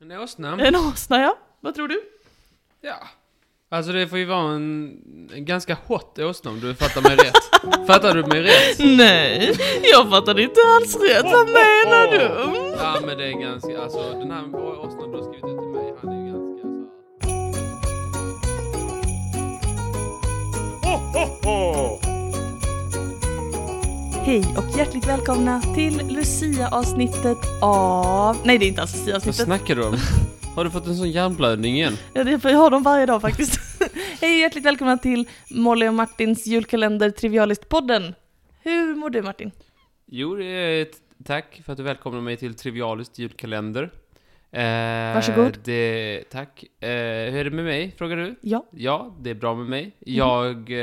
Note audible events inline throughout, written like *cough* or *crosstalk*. En åsna? En åsna ja. Vad tror du? Ja. Alltså det får ju vara en, en ganska hot åsna om du fattar mig rätt. Fattar du mig rätt? Nej, jag fattade inte alls rätt. Vad menar du? Ja men det är ganska, alltså den här åsnan du har skrivit ut till mig, han är ju ganska alltså. så här- Hej och hjärtligt välkomna till Lucia-avsnittet av... Nej, det är inte alls Vad Lucia-avsnittet. snackar du om? Har du fått en sån hjärnblödning igen? Ja, det- Jag har dem varje dag *laughs* faktiskt. Hej och hjärtligt välkomna till Molly och Martins julkalender Trivialist-podden. Hur mår du Martin? Jo, det är ett tack för att du välkomnar mig till Trivialist julkalender. Eh, Varsågod. Det, tack. Eh, hur är det med mig, frågar du? Ja. Ja, det är bra med mig. Jag eh,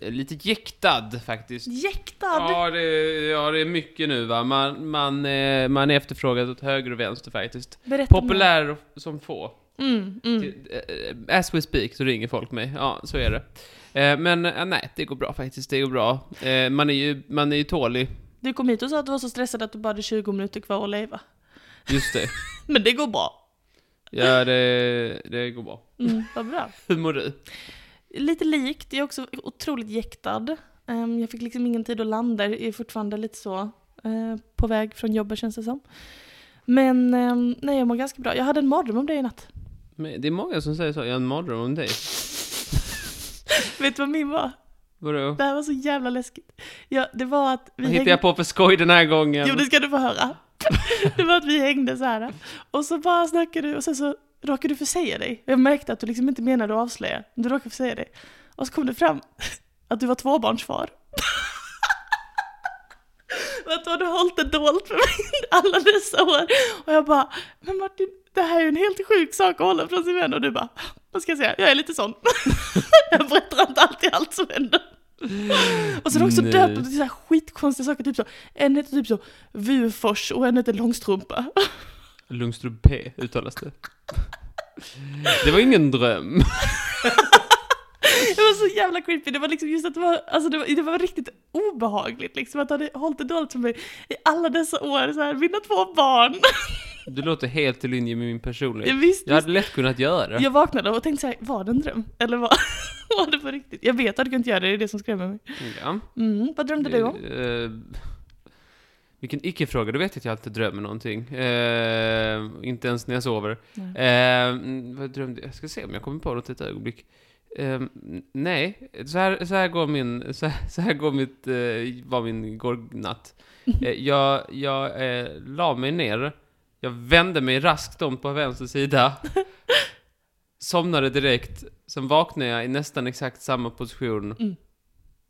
är lite jäktad faktiskt. Jäktad! Ja det, ja, det är mycket nu va. Man, man, eh, man är efterfrågad åt höger och vänster faktiskt. Berätta mer. Populär som få. Mm, mm. Till- eh, As we speak så ringer folk mig. Ja, så är det. Eh, Men eh, nej, det går bra faktiskt. Det går bra. Eh, Man är ju, man är ju tålig. Du kom hit och sa att du var så stressad att du bara hade 20 minuter kvar att leva. Just det. Men det går bra. Ja, det, det går bra. Mm, vad bra. Hur mår du? Lite likt, jag är också otroligt jäktad. Ehm, Jag fick liksom ingen tid att landa, jag är fortfarande lite så eh, på väg från jobbet känns det som. Men ehm, nej, jag mår ganska bra. Jag hade en mardröm om dig i natt. Men Det är många som säger så. Jag har en mardröm om dig. Vet du vad min var? Vadå? Det här var så jävla läskigt. Ja, det var att vi Vad hittar jag på för skoj den här gången? Jo, det ska du få höra. *laughs* det var att vi hängde så här. Och så bara snackade du och sen så råkade du försäga dig. Jag märkte att du liksom inte menade att avslöja. men Du råkade försäga dig. Och så kom det fram att du var tvåbarnsfar. *laughs* Och att du hade hållit det dolt för mig alla dessa år. Och jag bara, men Martin, det här är ju en helt sjuk sak att hålla från sin vän. Och du bara, vad ska jag säga, jag är lite sån. *laughs* jag berättar inte alltid allt som händer. Och så har du också Nej. döpt dem till så här skitkonstiga saker, typ så, en heter typ så Vufors och en heter Långstrumpa. *laughs* Lungstrup P uttalas det. Det var ingen dröm. Det var så jävla creepy, det var liksom just att det var, alltså det var, det var riktigt obehagligt liksom att du hade hållit det dolt för mig i alla dessa år, så här, mina två barn. Du låter helt i linje med min Jag personlighet. visste Jag hade lätt kunnat göra det. Jag vaknade och tänkte så här, var det en dröm? Eller var, *laughs* var det på riktigt? Jag vet att du kan inte göra det, det är det som skrämmer mig. Ja. Mm, vad drömde du om? Eh, vilken icke-fråga, du vet att jag alltid drömmer någonting. Eh, inte ens när jag sover. Nej. Eh, mm, vad drömde jag? Jag ska se om jag kommer på något ett ögonblick. Eh, n- nej, så här, så här går min, så här, så här går mitt, eh, var min gårnatt. *laughs* Eh, jag jag eh, la mig ner, jag vände mig raskt om på vänster sida, somnade direkt, sen vaknade jag i nästan exakt samma position, Mm.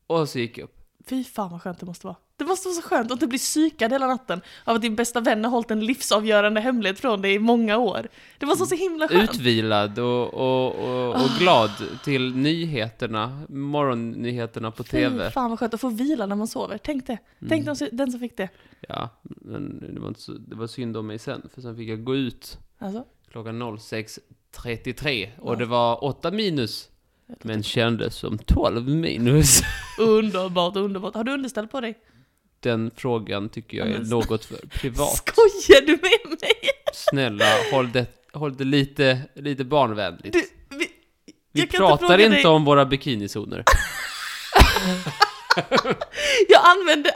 och så gick jag upp. Fy fan vad skönt det måste vara. Det måste vara så skönt att inte bli psykad hela natten av att din bästa vän har hållit en livsavgörande hemlighet från dig i många år. Det måste vara så himla skönt. Utvilad och, och, och, Ah. och glad till nyheterna, morgonnyheterna på Mm. Fy TV. fan vad skönt att få vila när man sover, tänk det. Tänk den som- den som fick det. Ja, men det var, inte så, det var synd om mig sen, för sen fick jag gå ut Alltså, klockan 06.33 och Ja. det var 8 minus, men kändes som 12 minus. *laughs* underbart, underbart. Har du underställ på dig? Den frågan tycker jag Ja, är men- något *laughs* för privat. Skojar du med mig? Snälla, håll det, håll det lite, lite barnvänligt. Du, vi, Vi jag kan inte pratar fråga inte dig. om våra *laughs* bikinizoner. Jag använde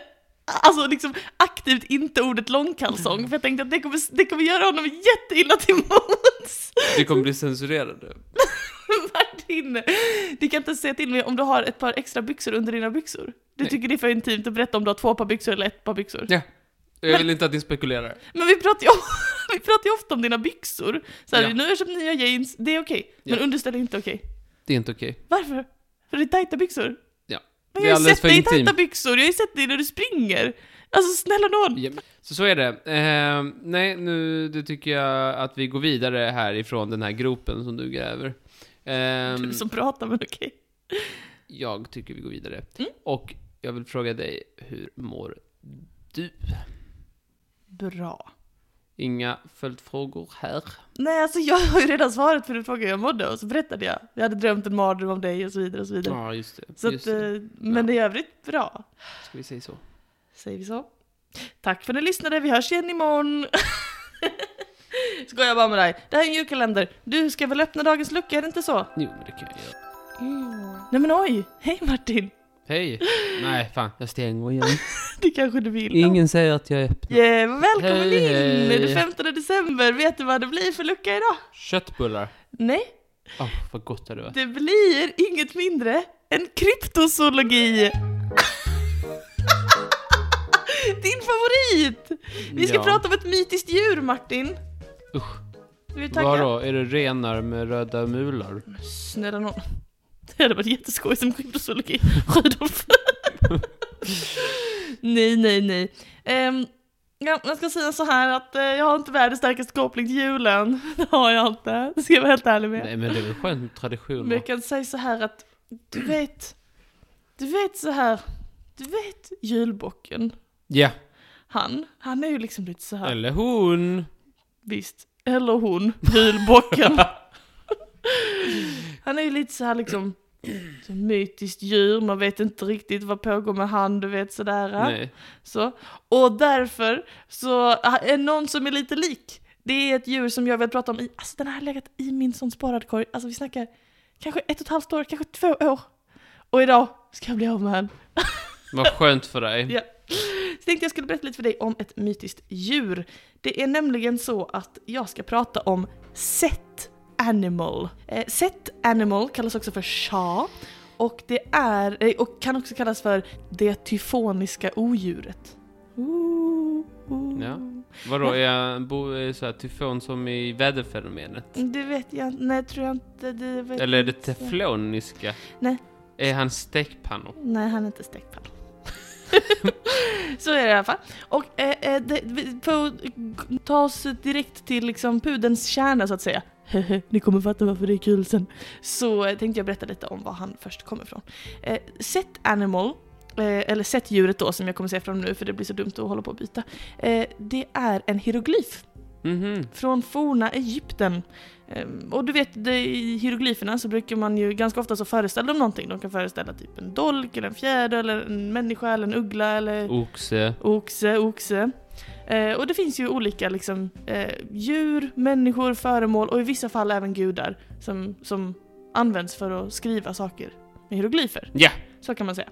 alltså liksom aktivt inte ordet långkalsong för jag tänkte att det kommer, det kommer göra honom jätteilla till mods. Vi kommer bli censurerade. *laughs* Martin, du kan inte säga till mig om du har ett par extra byxor under dina byxor. Du Nej. tycker det är för intimt att berätta om du har två par byxor eller ett par byxor. Ja. Jag vill inte att ni spekulerar. Men vi pratar ju, om- *laughs* vi pratar ju ofta om dina byxor. Så här, Ja. nu har jag köpt nya jeans, det är okej. Men Ja. underställ är inte okej. Det är inte okej. Varför? För det är tajta byxor. Ja. Men Det är jag har ju alldeles sett för dig i intimt. tajta byxor, jag har ju sett dig när du springer. Alltså snälla nån. Ja, Så så är det. Eh, nej, nu det tycker jag att vi går vidare härifrån den här gropen som du gräver. Ehm, Du som pratar men okej. Jag tycker vi går vidare. Mm. Och jag vill fråga dig, hur mår du? Bra. Inga följdfrågor här. Nej, alltså jag har ju redan svarat för den frågan jag mådde och så berättade jag. Jag hade drömt en mardröm om dig och så vidare och så vidare. Ja, just det. så just att, det. eh, men i övrigt bra, Ska vi säga så? *laughs* säger vi så. Tack för att ni lyssnade, vi hörs igen imorgon. Så går jag bara med dig. Det här är en julkalender. Du ska väl öppna dagens lucka, är det inte så? Jo, men det kan jag göra. Nej men oj! Hej Martin! *laughs* *gasps* Hej! Nej, fan, jag stänger igen. Det kanske du vill? Ingen säger att jag är öppen. Yeah, men välkommen Hej, in! hej. Det är 15 december. Vet du vad det blir för lucka idag? Köttbullar. Nej, Åh, vad gott det hade varit. det blir inget mindre än kryptozoologi! *laughs* Din favorit! Vi ska Ja. prata om ett mytiskt djur, Martin. Usch. Är du taggad? Vadå, är det renar med röda mulor? Snälla nån. Det hade varit jätteskoj som kryptozoologi. *laughs* Rudolf. nej, nej, nej. Ehm, ja, jag ska säga så här att eh, jag har inte världens starkaste koppling till julen. *laughs* Det har jag inte. Det ska jag vara helt ärlig med. Nej, men det är väl skönt med Men traditioner. jag kan säga så här att du vet, du vet så här, du vet julbocken. Ja, Han, han är ju liksom lite så här. eller hon. Visst. Eller hon, *laughs* julbocken. han är ju lite så här liksom, så mytiskt djur, man vet inte riktigt vad pågår med han, du vet sådär. Nej. Så. Och därför så ah, är någon som är lite lik. Det är ett djur som jag vill prata om i, alltså den här har legat i min sån sparade korg, alltså vi snackar kanske ett och ett halvt år, kanske två år. Och idag ska jag bli av med han. Vad skönt för dig. *laughs* Ja. Så tänkte jag skulle berätta lite för dig om ett mytiskt djur. Det är nämligen så att jag ska prata om set animal. Eh, set animal kallas också för sha och det är eh, och kan också kallas för det tyfoniska odjuret. Mm, Ooh, ooh. Ja. Vadå, är jag en bo, är det så här tyfon som i väderfenomenet? Det vet jag inte, nej tror jag inte. Det vet Eller är det inte. tefloniska? Nej. Är han stekpannor? Nej, han är inte stekpanna. *laughs* så är det i alla fall. Och eh, eh, det, vi får ta oss direkt till liksom pudens kärna så att säga. *laughs* Ni kommer fatta varför det är kul sen. Så eh, tänkte jag berätta lite om var han först kommer ifrån. Eh, set Animal, eh, eller Set djuret då som jag kommer säga från nu för det blir så dumt att hålla på och byta. Eh, det är en hieroglyf Mhm. från forna Egypten. Ehm, Och du vet, det, i hieroglyferna så brukar man ju ganska ofta så föreställa dem någonting. De kan föreställa typ en dolk, eller en fjäder, eller en människa, eller en uggla, eller Oxe. oxe, oxe. Eh, och det finns ju olika liksom, eh, djur, människor, föremål och i vissa fall även gudar som, som används för att skriva saker med hieroglyfer. Ja. Så kan man säga.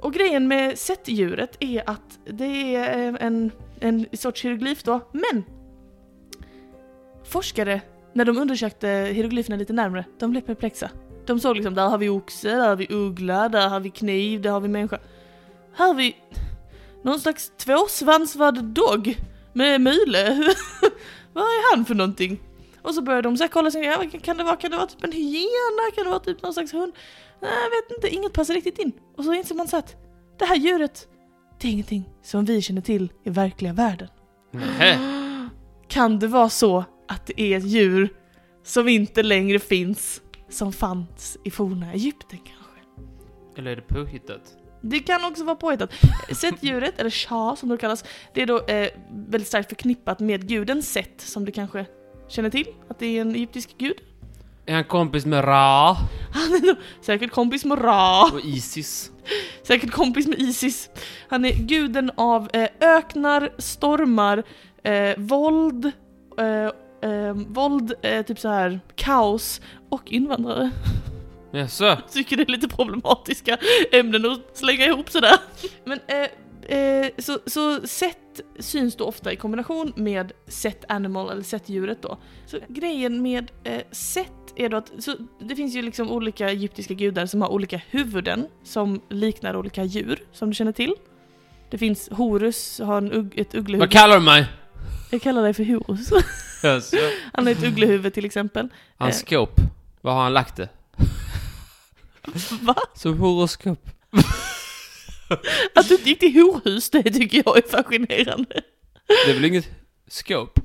Och grejen med sättdjuret är att det är eh, en, en sorts hieroglyf då, men forskare, när de undersökte hieroglyferna lite närmre, de blev perplexa. De såg liksom, där har vi oxe, där har vi uggla, där har vi kniv, där har vi människa. Här har vi någon slags tvåsvansvad dog med mule. *laughs* Vad är han för någonting? Och så började de så här kolla, så, ja, vad kan det vara? Kan det vara typ en hyena? Kan det vara typ någon slags hund? Nej, jag vet inte, inget passar riktigt in. Och så inser man så att det här djuret, det är ingenting som vi känner till i verkliga världen. Nähä. Kan det vara så att det är ett djur som inte längre finns, som fanns i forna Egypten kanske? Eller är det påhittat? Det kan också vara påhittat. Set-djuret, eller Sha som det kallas, det är då eh, väldigt starkt förknippat med guden Set, som du kanske känner till, att det är en egyptisk gud. Är han kompis med Ra? Han är nog säkert kompis med Ra. Och Isis? Säkert kompis med Isis. Han är guden av eh, öknar, stormar, eh, våld, eh, eh, våld, eh, typ så här kaos och invandrare. Jaså? Jag *laughs* tycker det är lite problematiska ämnen att slänga ihop sådär. Men eh, eh, så, så sett syns då ofta i kombination med sett animal eller sett djuret då. Så grejen med eh, sett är då att så det finns ju liksom olika egyptiska gudar som har olika huvuden som liknar olika djur som du känner till. Det finns Horus, har en ugg, ett Vad ugglehuvud. kallar du mig? Jag kallar dig för Horus. Jaså? Han har ett ugglehuvud till exempel. Hans Eh. skåp. Var har han lagt det? Va? Som horoskop. Att du inte gick till horhus, det tycker jag är fascinerande. Det är väl inget skåp?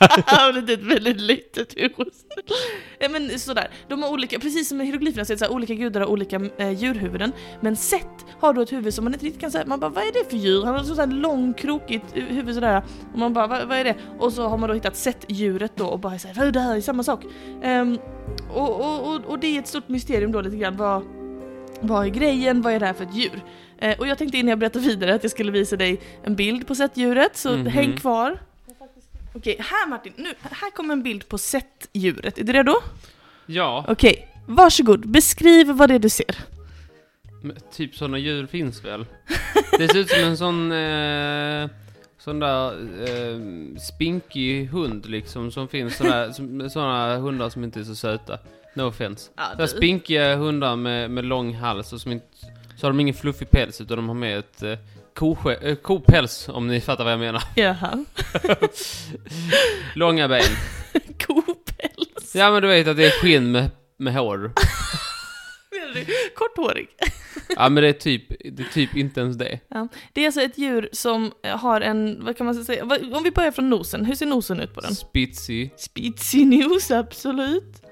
*laughs* Ja, men det är ett väldigt litet hus. Ja, men sådär, de har olika, precis som med hieroglyferna så är det såhär, olika gudar har olika eh, djurhuvuden. Men Set har då ett huvud som man inte riktigt kan säga, man bara vad är det för djur? Han har sådär lång krokigt hu- huvud sådär. Och man bara vad, vad är det? Och så har man då hittat Set-djuret då och bara såhär, det här är samma sak. Ehm, och, och, och, och det är ett stort mysterium då lite grann, vad, vad är grejen, vad är det här för ett djur? Eh, och jag tänkte innan jag berättar vidare att jag skulle visa dig en bild på Set-djuret, så Mhm. häng kvar. Okej, här Martin, nu, här kommer en bild på sättdjuret. Är du redo? Ja, Okej, varsågod. Beskriv vad det är du ser. men typ sådana djur finns väl? Det ser ut som en sån... Eh, sån där eh, spinkig hund liksom som finns såna, som- såna hundar som inte är så söta. No offense. Ja, Såna spinkiga hundar med, med lång hals och som inte... Så har de ingen fluffig päls utan de har med ett eh, kosje, eh, kopäls om ni fattar vad jag menar. *laughs* Jaha. Långa ben. Kopäls. Ja men du vet att det är skinn med, med hår. *laughs* Menar du? Korthårig. Ja men det är typ, det är typ inte ens det. Det är alltså ett djur som har en, vad kan man säga, vad- om vi börjar från nosen, hur ser nosen ut på den? Spitsig. Spitsig nos, absolut.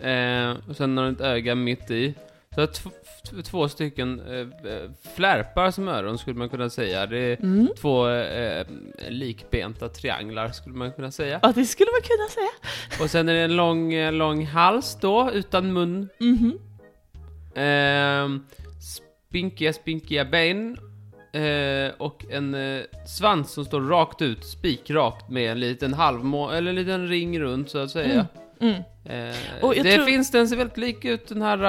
Eh, och sen har den ett öga mitt i. Så att tv- tv- två stycken eh, eh, flärpar som öron skulle man kunna säga. Det är Mm. två eh, likbenta trianglar skulle man kunna säga. Ja, det skulle man kunna säga. Och sen är det en lång, eh, lång hals då, utan mun. Mhm. Eh, spinkiga, spinkiga ben. Eh, och en eh, svans som står rakt ut, spikrakt med en liten halvmåne, eller en liten ring runt så att säga. Mm. Mm. Eh, Och jag det tror- finns, den ser väldigt lik ut den här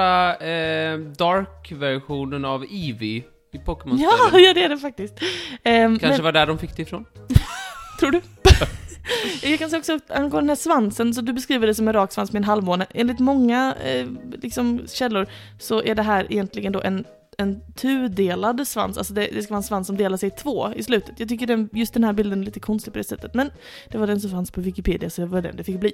eh, dark-versionen av Eevee i Pokémon Ja, spelen. ja, det är det faktiskt. Ehm, Kanske var där de fick det ifrån. Tror du? *laughs* Jag kan säga också att angående den här svansen, så du beskriver det som en rak svans med en halvmåne. Enligt många eh, liksom, källor så är det här egentligen då en, en tudelad svans, alltså det, det ska vara en svans som delar sig i två i slutet. Jag tycker den, just den här bilden är lite konstig på det sättet, men det var den som fanns på Wikipedia så det var den det fick bli.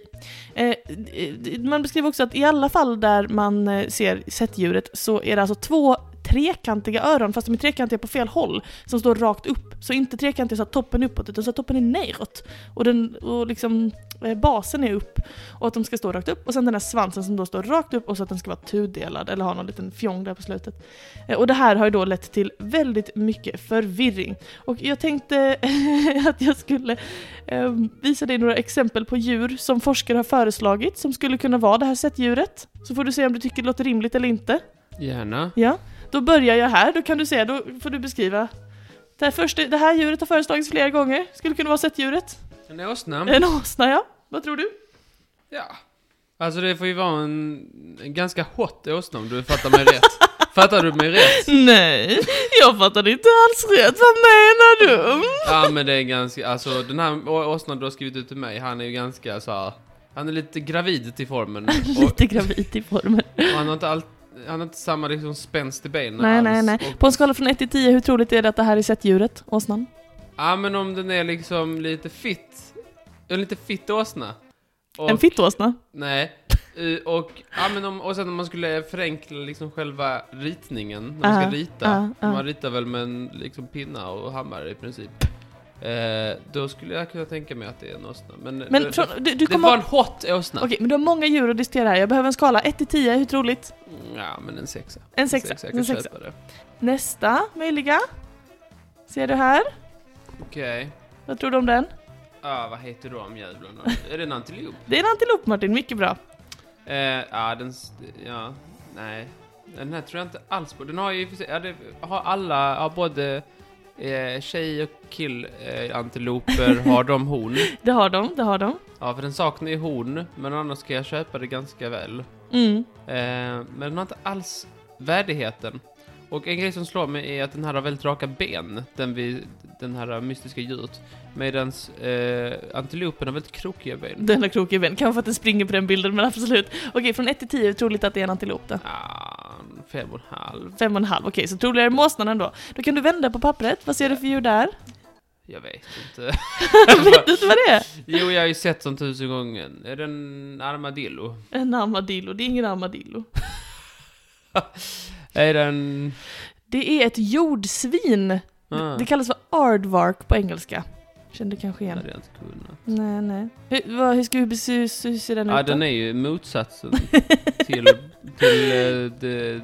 Eh, eh, man beskriver också att i alla fall där man eh, ser sättdjuret så är det alltså två trekantiga öron, fast de är trekantiga på fel håll som står rakt upp. Så inte trekantig så att toppen är uppåt, utan så att toppen är neråt. Och, den, och liksom, eh, basen är upp. Och att de ska stå rakt upp. Och sen den här svansen som då står rakt upp och så att den ska vara tudelad eller ha någon liten fjong där på slutet. Eh, Och det här har ju då lett till väldigt mycket förvirring. Och jag tänkte *laughs* att jag skulle eh, visa dig några exempel på djur som forskare har föreslagit som skulle kunna vara det här sättdjuret. Så får du se om du tycker det låter rimligt eller inte. Gärna. Ja, då börjar jag här. Då kan du säga, då får du beskriva. Det här, första, det här djuret har föreslagits flera gånger. Skulle kunna vara sättdjuret. En åsna. En åsna, ja. Vad tror du? Ja. Alltså det får ju vara en, en ganska hot åsna om du fattar mig rätt. *laughs* Fattar du mig rätt? Nej, jag fattade inte alls rätt. Vad menar du? Ja men det är ganska, alltså den här å- åsnan du har skrivit ut till mig, han är ju ganska så här, han är lite gravid till *laughs* formen. Och, Lite gravid i formen. och han har inte allt, han har inte samma liksom spänst i benen Nej, alls. nej, nej. Och På en skala från 1 till 10, hur troligt är det att det här är sättdjuret? Åsnan? Ja men om den är liksom lite fitt, en lite fitt åsna. Och, En fittåsna? Nej. Eh, Och, ja, men om, och sen om man skulle förenkla liksom själva ritningen, när man Ja, ska rita. ja, ja. Man ritar väl med en liksom, pinna och hammare i princip. Eh, då skulle jag kunna tänka mig att det är en åsna. Men, Men det, från, det, du, du det kommer... var en Okej, hot åsna. men du har många djur att diskutera här. Jag behöver en skala. 1 till 10, hur troligt? Mm, Ja, men en sexa. En sexa. Jag En kan sexa. köpa det. Nästa möjliga. Ser du här? Okej. Vad tror du om den? Ah, vad heter de jävlarna? är det en antilop? Det är en antilop Martin, mycket bra. Eh, ja, den... s- Ja, nej. Den här tror jag inte alls på. Den har ju i och för sig- ja, det har alla, har både eh, tjej och kill eh, antiloper, har de horn. Det har de, det har de. Ja, för den saknar ju horn, men annars ska jag köpa det ganska väl. Mm. Eh, men den har inte alls värdigheten. Och en grej som slår mig är att den här har väldigt raka ben, den, vi, den här mystiska djuret. Medans eh, antilopen har väldigt krokiga ben. Den har krokiga ben, kanske för att den springer på den bilden, men absolut. Okej, från 1 till 10, hur troligt att det är en antilop då? Ah, fem och en halv. Fem och en halv, okej, så troligare måsnan ändå. Då kan du vända på pappret, vad ser du för *laughs* djur där? Jag vet *laughs* inte. Vet du inte vad det är? Jo, jag har ju sett sånt tusen gånger. Är det en armadillo? *laughs* En armadillo, det är ingen armadillo. Är den... Det är ett jordsvin. Ah, Det kallas för aardvark på engelska. Kände du kanske igen? hade jag inte kunnat. Nej, nej. Hur, vad, hur, ska vi, hur, hur ser den Ja, ut då? Ah, den är ju *laughs* motsatsen till, till, eh, det,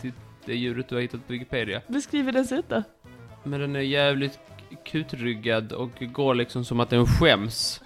till det djuret du har hittat på Wikipedia. Beskriv hur den ser ut då. Men den är jävligt k- kutryggad och går liksom som Ah. *laughs* att den skäms.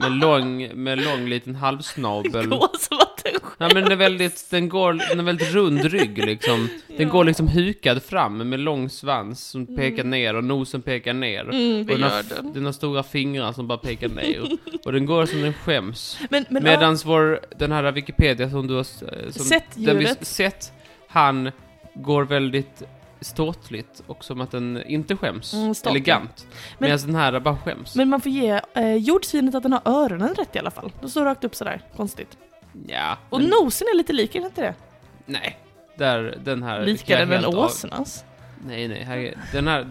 Med lång, med lång liten halvsnabel. Gå som att den Nej, men den är *laughs* väldigt, den går, den är väldigt rund rygg liksom. Den går liksom hukad fram med lång svans som pekar ner och nosen pekar ner. Mm, och det den har, gör f- den. den har stora fingrar som bara pekar ner. och den går som den skäms. Men, *laughs* men ja, Medans vår, den här Wikipedia som du har... s- eh, Som, Sett den vi s- djuret. sett, han går väldigt ståtligt och som att den inte skäms. Mm, ståtlig. Elegant. Men- Medan den här bara skäms. men man får ge eh, jordsvinet att den har öronen rätt i alla fall. De står rakt upp sådär, konstigt. ja, Och men- nosen är lite lik, är den inte det? Nej. Där, den här... Likare kan jag än helt av- åsnans. Nej, nej. Här, är- den här...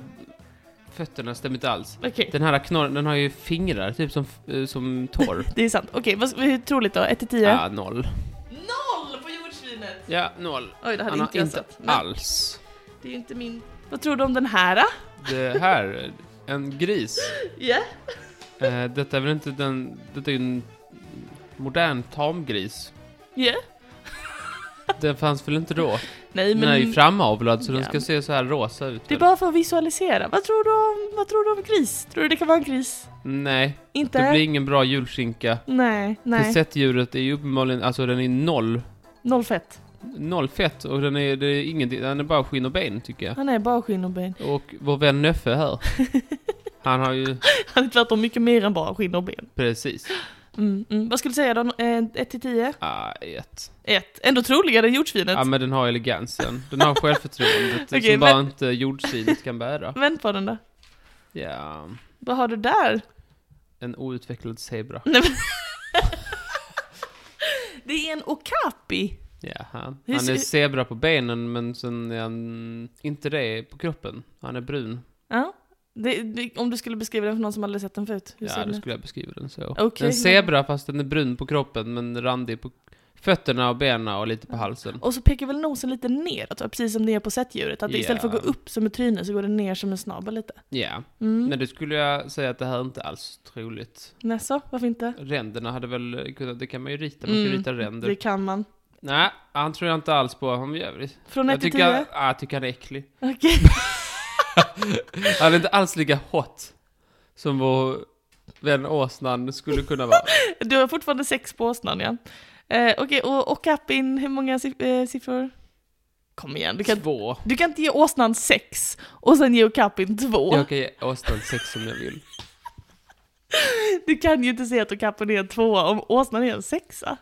Fötterna stämmer inte alls. Okej, Den här knorren, den har ju fingrar, typ som, eh, som *laughs* tår. det är sant. Okej, vad hur troligt då? 1 till 10? Ah, noll. Noll på jordsvinet! Ja, noll. Oj, det hade Han har inte jag inte sett. Men alls. Det är ju inte min... Vad tror du om den *gasps* här? då? Det här, en gris. Ja. Eh, detta är väl inte den, detta är ju en modern tamgris. Ja. *laughs* Den fanns väl inte då? Nej, Den är ju men... framavlad så den Ja. ska se så här rosa ut. Det är väl? bara för att visualisera. Vad tror du om, vad tror du om gris? Tror du det kan vara en gris? Nej, Inte? det blir ingen bra julskinka. Nej, nej. Kassettdjuret är ju uppenbarligen, alltså den är noll, Noll fett. noll fett och den är, det är ingenting, den är bara skinn och ben tycker jag. Han är bara skinn och ben. Och vår vän Nöffe *laughs* här, han har ju, Han är tvärtom mycket mer än bara skinn och ben. precis, Mm, mm. Vad skulle du säga då? 1 till 10? ah, ett. 1. Ändå troligare än jordsvinet. Ja men den har elegansen, den har självförtroendet *laughs* Okej, som bara men- inte jordsidigt kan bära. Vänd på den då. Ja, Vad har du där? en outvecklad zebra. Nej, men- det är en okapi. Ja, han, Hur han ser- är zebra på benen men sen är han inte det på kroppen. Han är brun. Ja. Det, det, om du skulle beskriva den för någon som aldrig sett den förut. Hur Ja, ser då den ut? skulle jag beskriva den så. Okej. En zebra fast den är brun på kroppen men randig på fötterna och benen och lite på Ja. halsen. Och så pekar väl nosen lite neråt, va? precis som det är på sättdjuret. Att det istället för att Ja. gå upp som ett tryne så går det ner som en snabel lite. Ja, Mm. men det skulle jag säga att det här är inte alls troligt. Nässå, varför inte? Ränderna hade väl kunnat, det kan man ju rita, man kan ju Mm, rita ränder. Det kan man. Nej, han tror jag inte alls på, han är jävligt. Från 1 Jag till tycker, 10? ja, jag tycker han är äcklig. Okej. Han är inte alls lika hot som vår vän åsnan skulle kunna vara. Du har fortfarande sex på åsnan, ja. Eh, Okej, och, och kappin, hur många siff- eh, siffror? Kom igen, du kan, Två. du kan inte ge åsnan sex och sen ge okappin två. Jag kan ge åsnan sex om jag vill. Du kan ju inte säga att okappin är en tvåa om åsnan är en sexa.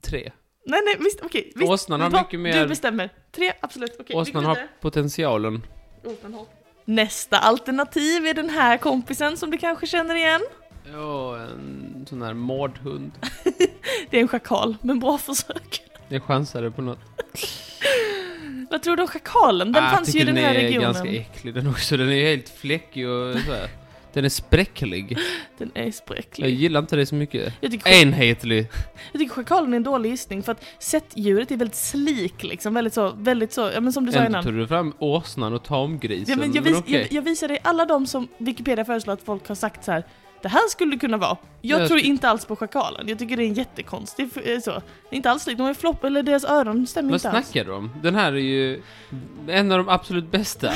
Tre. Nej, nej, visst, okej. visst. Åsnan har Va? mycket mer- Du bestämmer. Tre, absolut. Okej, vi går åsnan har vidare. potentialen. Åsnan har... Nästa alternativ är den här kompisen som du kanske känner igen. Ja, en sån här mårdhund. Det är en schakal, men bra försök. Jag chansade på något. Vad tror du om schakalen? Den Ah, fanns ju i den här Jag tycker regionen. den är ganska äcklig den också. Den är ju helt fläckig och så här. Den är spräcklig. Den är Jag spräcklig. gillar inte det så mycket. Jag tycker, Enhetlig. jag tycker schakalen är en dålig gissning för att sättdjuret är väldigt slik liksom, väldigt så, väldigt så, ja men som du sa Ändå innan. tog du fram åsnan och Ja, tamgrisen. men jag, men vis, okej. jag, jag visar dig alla de som Wikipedia föreslår att folk har sagt så här. det här skulle det kunna vara. Jag Jag tror sk- inte alls på schakalen, jag tycker det är en jättekonstig, f- eh, så. Det är Inte alls likt, de är flopp, eller deras öron stämmer Vad inte alls. snackar du om? Den här är ju en av de absolut *laughs* bästa.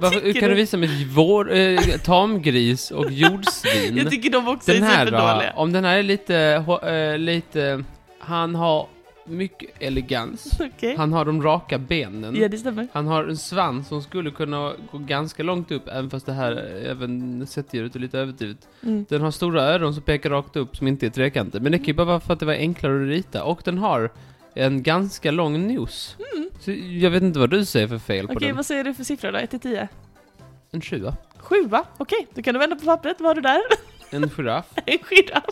Varför, Tycker kan du du? visa mig vår, eh, tamgris *laughs* och jordsvin? Jag tycker de också Den är här superdåliga. då, om den här är lite, ho- eh, lite, han har mycket elegans. *laughs* Okej, Han har de raka benen. ja det stämmer. Han har en svans som skulle kunna gå ganska långt upp, även fast det här, eh, även sättdjuret är lite överdrivet. Mm. Den har stora öron som pekar rakt upp som inte är trekanter. Men det kan ju bara vara för att det var enklare att rita. Och den har en ganska lång nos. Så jag vet inte vad du säger för fel Mm. Okej, på den. vad säger du för siffror då? 1 till 10? En sjua. Sjua, okej, då kan du vända på pappret, vad har du där? *laughs* En giraff. En giraff.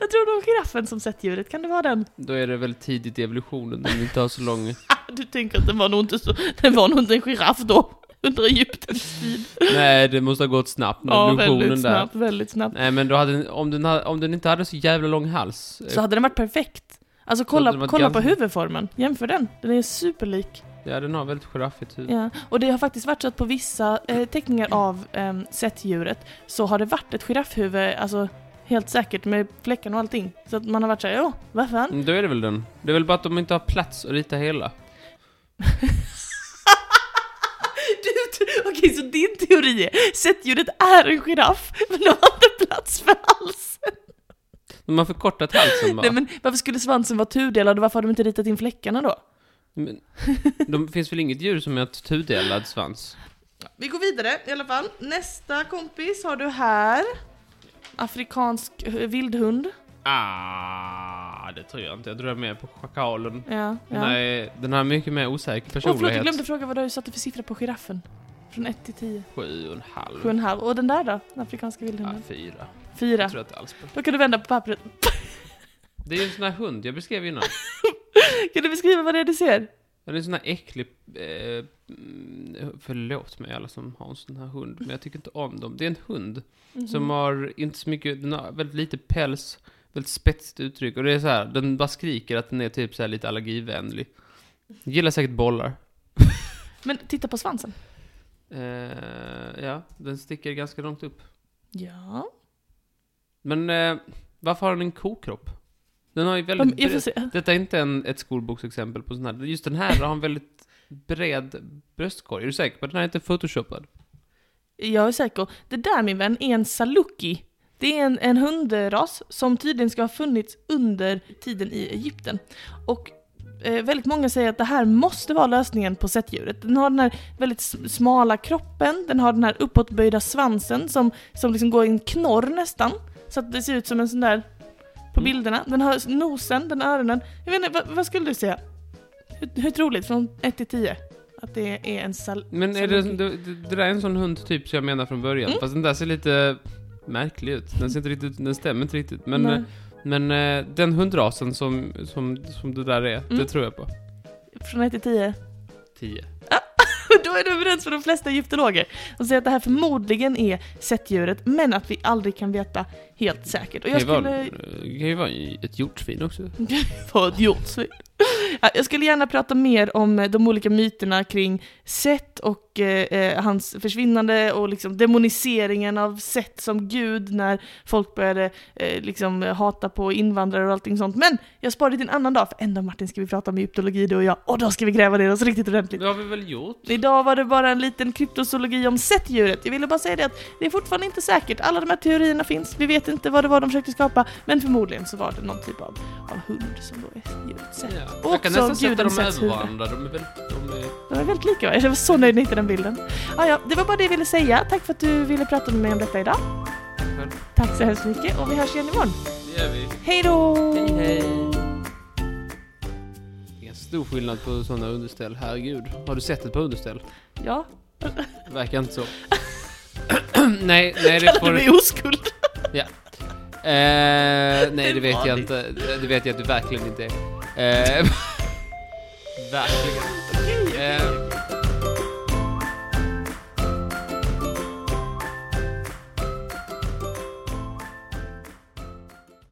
Vad tror du om giraffen som sättdjuret? Kan det vara den? Då är det väl tidigt i evolutionen, om vi inte har så lång... Ah, Du tänker att den var nog inte, så, den var nog inte en giraff då, under Egyptens tid. Nej, det måste ha gått snabbt med Ja, evolutionen väldigt där. snabbt, väldigt snabbt. Nej men då hade, den- om, den ha- om den inte hade så jävla lång hals. eh, Så hade den varit perfekt. Alltså den kolla, varit kolla på ganska- huvudformen, jämför den. Den är superlik. Ja den har väldigt giraffigt huvud. Ja. Och det har faktiskt varit så att på vissa eh, teckningar av eh, sättdjuret så har det varit ett giraffhuvud, alltså helt säkert med fläckarna och allting. Så att man har varit såhär, ja, vad fan? *laughs* Mm, Då är det väl den. Det är väl bara att de inte har plats att rita hela. Du- du- Okej, så din teori är sättdjuret är en giraff, men de har inte plats för halsen. De har förkortat *laughs* halsen bara. Nej, men varför skulle svansen vara tudelad och varför har de inte ritat in fläckarna då? Men, de finns väl inget djur som har tudelad svans? Vi går vidare i alla fall. Nästa kompis har du här. Afrikansk eh, vildhund. Ah, det tror jag inte. Jag tror jag är med på schakalen. Ja, ja. Den, här är, den här är mycket mer osäker Åh, förlåt, jag personlighet. glömde fråga vad du satte för siffra på giraffen. Från 1 till 10. Sju och en halv. 7,5. Och den där då? Den afrikanska Ah, vildhunden? fyra. Jag 4. tror inte alls på. Då kan du vända på pappret. Det är ju en sån här hund jag beskrev *laughs* innan. Kan du beskriva vad det är du ser? Den är en sån här äcklig... Eh, mm, förlåt mig alla som har en sån här hund, men jag tycker inte om dem. Det är en hund Mhm. som har inte så mycket, den har väldigt lite päls, väldigt spetsigt uttryck. Och det är så här, den bara skriker att den är typ så här lite allergivänlig. Gillar säkert bollar. Men titta på svansen. Eh, ja, den sticker ganska långt upp. Ja. Men eh, varför har den en kokropp? Den har ju väldigt... Om, jag får bred- se. Detta är inte en, ett skolboksexempel på sån här. Just den här har en väldigt bred bröstkorg. Är du säker på att den här är inte är photoshopad? Jag är säker. Det där min vän är en saluki. Det är en, en hundras som tydligen ska ha funnits under tiden i Egypten. Och eh, väldigt många säger att det här måste vara lösningen på sättdjuret. Den har den här väldigt s- smala kroppen, den har den här uppåtböjda svansen som, som liksom går i en knorr nästan. Så att det ser ut som en sån där på Mm. bilderna. Den har nosen, den har öronen. Jag vet inte, vad, vad skulle du säga? Hur, hur troligt från 1 till 10? Att det är en sal... Men är det, Saluki. det, det där är en sån hundtyp som jag menar från början. Mm. Fast den där ser lite märklig ut. Den, ser inte riktigt, den stämmer inte riktigt. Men, Nej. eh, men eh, den hundrasen som, som, som det där är, det Mm. tror jag på. Från 1 till 10? 10. *laughs* Då är det överens med de flesta egyptologer. De säger att det här förmodligen är sättdjuret, men att vi aldrig kan veta helt säkert. Och Det kan jag ju vara, skulle... det kan ju vara ett hjortsvin också. Vad ett jordsvin. *laughs* Ja, Jag skulle gärna prata mer om eh, de olika myterna kring Set och eh, eh, hans försvinnande och liksom demoniseringen av Set som gud när folk började eh, liksom eh, hata på invandrare och allting sånt. Men jag sparar det till en annan dag, för en dag Martin ska vi prata om egyptologi du och jag, och då ska vi gräva ner oss riktigt ordentligt. Det har vi väl gjort? Idag var det bara en liten kryptozoologi om sättdjuret. Jag ville bara säga det att det är fortfarande inte säkert. Alla de här teorierna finns. Vi vet inte vad det var de försökte skapa, men förmodligen så var det någon typ av, av hund som då är djuret Ja. sätt. Jag kan Också nästan sätta guden dem sätts över huvud. varandra. De är väldigt... De är... De är väldigt lika va? Jag var så nöjd när jag hittade den bilden. Ah, ja, det var bara det jag ville säga. Tack för att du ville prata med mig om detta idag. själv. Tack så hemskt mycket och vi hörs igen imorgon. Det gör vi. Hej då! Hej hej! Det är en stor skillnad på sådana underställ, herregud. Har du sett ett par underställ? Ja, Verkar inte så. *clears throat* nej, nej det kallade får... mig oskuld. Eh, nej det Det vet var jag det. inte. Det vet jag att du *laughs* verkligen inte är. Eh, verkligen.